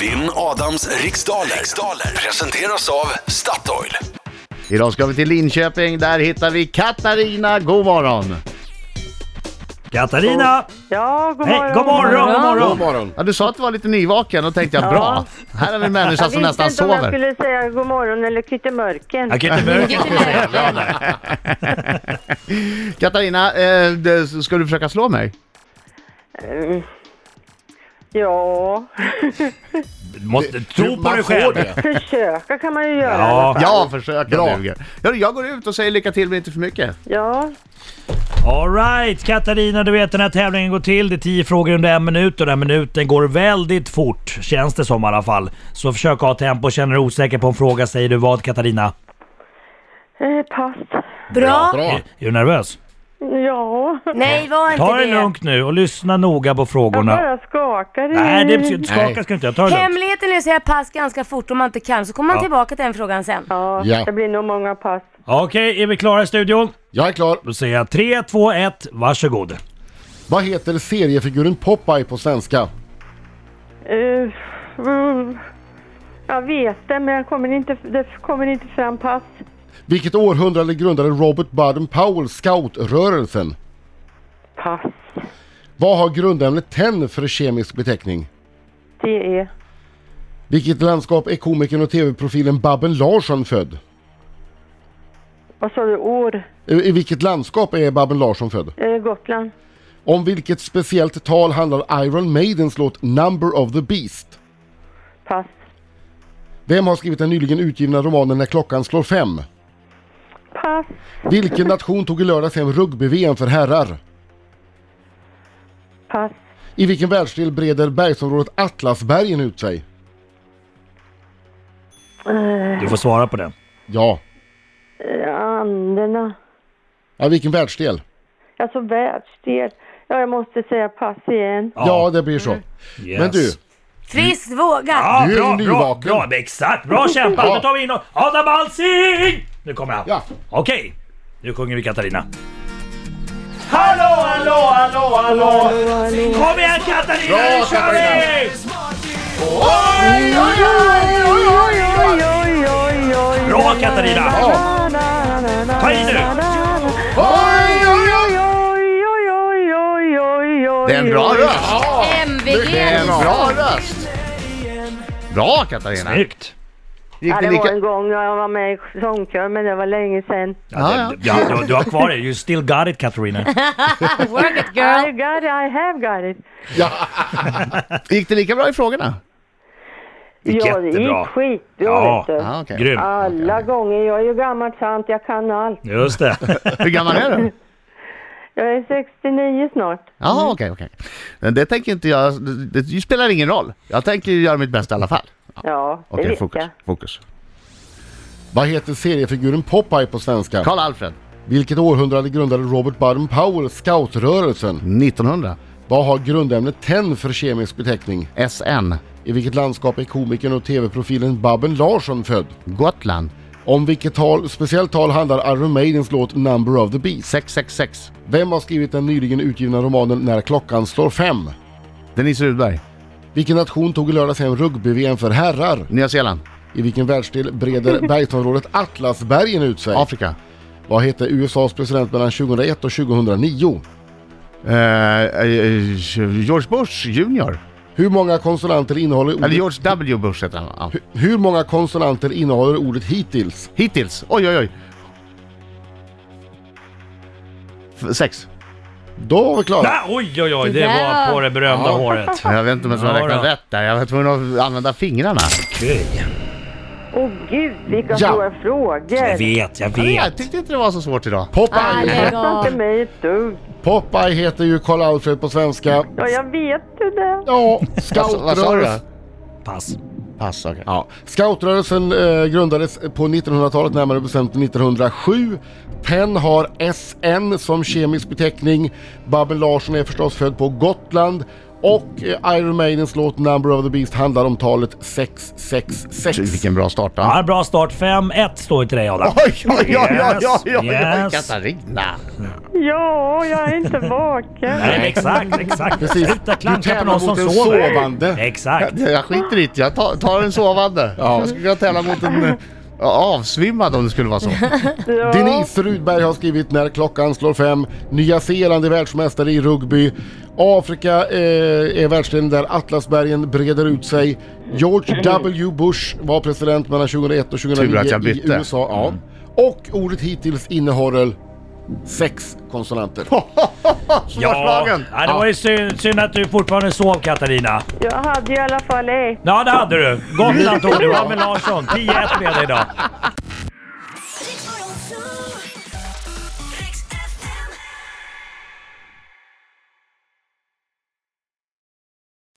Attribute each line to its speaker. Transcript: Speaker 1: Vinn Adams riksdaler. riksdaler presenteras av Statoil.
Speaker 2: Idag ska vi till Linköping, där hittar vi Katarina. God morgon!
Speaker 3: Katarina!
Speaker 4: Ja, god morgon.
Speaker 3: Hej, god morgon, god morgon!
Speaker 5: morgon.
Speaker 2: Ja, du sa att du var lite nyvaken, och tänkte jag bra. Här är vi människa
Speaker 4: Jag
Speaker 2: som
Speaker 4: visste
Speaker 2: Alltså, nästan
Speaker 4: inte om jag
Speaker 2: sover.
Speaker 4: skulle säga god morgon eller kyttemörken.
Speaker 3: Jag kan inte mörka på det. Bra där.
Speaker 2: Katarina, eh, det- ska du försöka slå mig?
Speaker 4: Mm. Ja,
Speaker 3: Måste tro på
Speaker 5: Man
Speaker 3: dig
Speaker 5: får
Speaker 3: själv.
Speaker 5: det.
Speaker 4: försöka kan man ju göra. i alla
Speaker 3: Ja,
Speaker 4: fall.
Speaker 2: Ja, försöka
Speaker 5: Bra.
Speaker 2: duger. Ja, jag går ut och säger lycka till men inte för mycket.
Speaker 4: ja.
Speaker 3: alright Katarina, du vet den här tävlingen går till. Det är 10 frågor under en minut och den här minuten går väldigt fort. Känns det som i alla fall. Så försök ha tempo. Känner du osäker på en fråga säger du vad Katarina?
Speaker 4: Eh, pass.
Speaker 6: Bra.
Speaker 5: Bra.
Speaker 3: Är, är du nervös?
Speaker 4: Ja,
Speaker 6: Nej, var inte
Speaker 3: Ta
Speaker 6: det.
Speaker 3: det lugnt nu och lyssna noga på
Speaker 4: jag
Speaker 3: frågorna.
Speaker 4: bara skakar i...
Speaker 3: Nej, det skaka
Speaker 5: Nej.
Speaker 3: ska du inte göra. Ta det lugnt.
Speaker 6: Hemligheten är att säga pass ganska fort om man inte kan, så kommer man
Speaker 3: Ja.
Speaker 6: tillbaka till den frågan sen.
Speaker 4: Ja,
Speaker 5: Ja.
Speaker 4: det blir nog många pass.
Speaker 3: Okej, är vi klara i studion?
Speaker 5: Jag är klar.
Speaker 3: Då säger jag 3, 2, 1, varsågod.
Speaker 5: Vad heter seriefiguren Popeye på svenska?
Speaker 4: Eh, mm. jag vet det, men jag kommer inte, det kommer inte fram pass.
Speaker 5: Vilket århundrade grundade Robert Baden Powell scoutrörelsen?
Speaker 4: Pass.
Speaker 5: Vad har grundämnet tenn för kemisk beteckning?
Speaker 4: Det är
Speaker 5: Vilket landskap är komikern och tv-profilen Babben Larsson född?
Speaker 4: Vad sa du? År?
Speaker 5: I i vilket landskap är Babben Larsson född?
Speaker 4: Eh, Gotland?
Speaker 5: Om vilket speciellt tal handlar Iron Maidens låt Number of the Beast?
Speaker 4: Pass.
Speaker 5: Vem har skrivit den nyligen utgivna romanen När klockan slår fem?
Speaker 4: Pass.
Speaker 5: Vilken nation tog i lördags hem rugby-VM för herrar?
Speaker 4: Pass.
Speaker 5: I vilken världsdel breder bergsområdet Atlasbergen ut sig?
Speaker 3: Du får svara på den.
Speaker 5: Ja.
Speaker 4: Eh, Anderna.
Speaker 5: Ja, vilken världsdel?
Speaker 4: Alltså världsdel. Ja, jag måste säga pass igen.
Speaker 3: Ja. Mm.
Speaker 5: Ja, det blir så.
Speaker 3: Yes.
Speaker 5: Men du,
Speaker 6: Friskt vågat!
Speaker 3: Mm. Ja,
Speaker 5: Du är
Speaker 3: bra, bra,
Speaker 5: nyvaken.
Speaker 3: bra, exakt, bra kämpat!
Speaker 5: Ja.
Speaker 3: Nu tar vi in Adam Alsing! Nu kommer han.
Speaker 5: Ja.
Speaker 3: Okej, nu sjunger vi Katarina. Hallå, hallå, hallå, hallå! Kom igen Katarina, nu kör vi!
Speaker 4: Oj, oj, oj, oj.
Speaker 3: Bra Katarina! Ta i nu!
Speaker 4: Oj, oj, oj, oj, oj, oj, oj.
Speaker 2: Det är en bra röst! Det är en
Speaker 6: MVG!
Speaker 2: bra röst! Bra Katarina!
Speaker 3: Snyggt!
Speaker 2: Gick
Speaker 4: Ja,
Speaker 2: det
Speaker 4: det var
Speaker 2: lika...
Speaker 4: en gång jag var med i sångkör, men det var länge sedan.
Speaker 3: Ja,
Speaker 2: Ja,
Speaker 3: det- ja, du, du har kvar det, you still got it Katarina.
Speaker 6: Work it
Speaker 4: I
Speaker 6: girl!
Speaker 4: got it, I have got it.
Speaker 2: Gick det lika bra i frågorna?
Speaker 3: gick
Speaker 4: Ja, det
Speaker 3: jättebra.
Speaker 4: gick skitbra,
Speaker 3: Ja.
Speaker 4: vet du.
Speaker 2: Ja, okej.
Speaker 3: Grym!
Speaker 4: Alla gånger. Jag är ju gammal tant, jag kan allt.
Speaker 3: Just det.
Speaker 2: Hur gammal är du?
Speaker 4: Jag är 69 snart.
Speaker 2: Jaha, okej, okej. Men Det tänker inte jag... Det, det spelar ingen roll. Jag tänker göra mitt bästa i alla fall.
Speaker 4: Ja, det
Speaker 2: Okej,
Speaker 4: vet
Speaker 2: fokus.
Speaker 4: jag.
Speaker 2: Fokus.
Speaker 5: vad heter seriefiguren Popeye på svenska?
Speaker 2: Karl-Alfred,
Speaker 5: Vilket århundrade grundade Robert Baden Powell scoutrörelsen?
Speaker 2: 1900.
Speaker 5: Vad har grundämnet tenn för kemisk beteckning?
Speaker 2: SN.
Speaker 5: I vilket landskap är komikern och tv-profilen Babben Larsson född?
Speaker 2: Gotland.
Speaker 5: Om vilket tal, speciellt tal handlar Iron Maidens låt Number of the Beast?
Speaker 2: 666.
Speaker 5: Vem har skrivit den nyligen utgivna romanen När klockan slår fem?
Speaker 2: Denise Rudberg.
Speaker 5: Vilken nation tog i lördags hem rugby-VM för herrar?
Speaker 2: Nya Zeeland.
Speaker 5: I vilken världsdel breder bergsområdet Atlasbergen ut sig?
Speaker 2: Afrika.
Speaker 5: Vad hette USAs president mellan 2001 och 2009?
Speaker 2: Eh, eh, George Bush Junior.
Speaker 5: Hur många konsonanter innehåller
Speaker 2: Eller
Speaker 5: ordet,
Speaker 2: George W Bush heter han. Ja.
Speaker 5: hur många konsonanter innehåller ordet hittills?
Speaker 2: Hittills. Oj, oj, oj. F- sex.
Speaker 5: Då var vi klara.
Speaker 3: Ah, oj, oj, oj, det
Speaker 6: Där.
Speaker 3: var på det berömda
Speaker 5: Ja.
Speaker 3: håret.
Speaker 2: Jag vet inte om jag
Speaker 3: Ja,
Speaker 2: räknar
Speaker 3: då. E.
Speaker 2: rätt där. Jag var tvungen att använda fingrarna.
Speaker 3: Okej.
Speaker 4: Åh gud, vilka
Speaker 5: Ja.
Speaker 4: svåra
Speaker 3: Jag
Speaker 4: frågor!
Speaker 3: vet, jag vet.
Speaker 2: Jag tyckte inte det var så svårt idag.
Speaker 5: Popeye,
Speaker 6: Alla
Speaker 4: Pressa inte
Speaker 6: gånger.
Speaker 4: mig ett dugg.
Speaker 5: Popeye heter ju Karl Alfred på svenska.
Speaker 4: Ja, jag vet ju det.
Speaker 5: Ja,
Speaker 2: Vad- vad sa du då?
Speaker 5: scoutrörelsen,
Speaker 3: Pass.
Speaker 2: Pass, okej.
Speaker 5: ja, scoutrörelsen eh, grundades på 1900-talet, närmare bestämt 1907. Penn har SN som kemisk beteckning. Babben Larsson är förstås född på Gotland. Och eh, Iron Maidens låt Number of the Beast handlar om talet 666.
Speaker 2: Fy, Vilken bra start då.
Speaker 3: Ja, bra start. 5-1 står ju till dig Adam.
Speaker 2: Oj, oj, oj, oj, oj, oj, oj,
Speaker 3: Yes.
Speaker 2: Katarina.
Speaker 4: Ja, jag är inte vaken.
Speaker 3: Nej, exakt, exakt.
Speaker 5: Precis.
Speaker 3: Sluta
Speaker 5: Du
Speaker 3: klanka på
Speaker 5: tävlar
Speaker 3: någon
Speaker 5: mot
Speaker 3: som
Speaker 5: en
Speaker 3: sover.
Speaker 5: sovande.
Speaker 3: Exakt.
Speaker 2: Jag, jag skiter i det, jag tar, tar en sovande.
Speaker 5: Ja.
Speaker 2: Jag skulle kunna tävla mot en eh, avsvimmad om det skulle vara så.
Speaker 4: Ja.
Speaker 5: Denise Rudberg har skrivit När klockan slår fem. Nya Zeeland är världsmästare i rugby. Afrika eh, är världsdelen där Atlasbergen breder ut sig. George W Bush var president mellan 2001 och 2009
Speaker 2: Mm. Tur att jag bytte. Mm.
Speaker 5: i USA. Ja. Och ordet hittills innehåller sex konsonanter.
Speaker 3: Ja,
Speaker 2: Svarslagen.
Speaker 3: nej, det var ju synd, synd att du fortfarande sov Katarina.
Speaker 4: Jag hade i alla fall ett.
Speaker 3: Ja, det hade du. Gotland tog du. Emil Larsson, 10-1 med dig idag.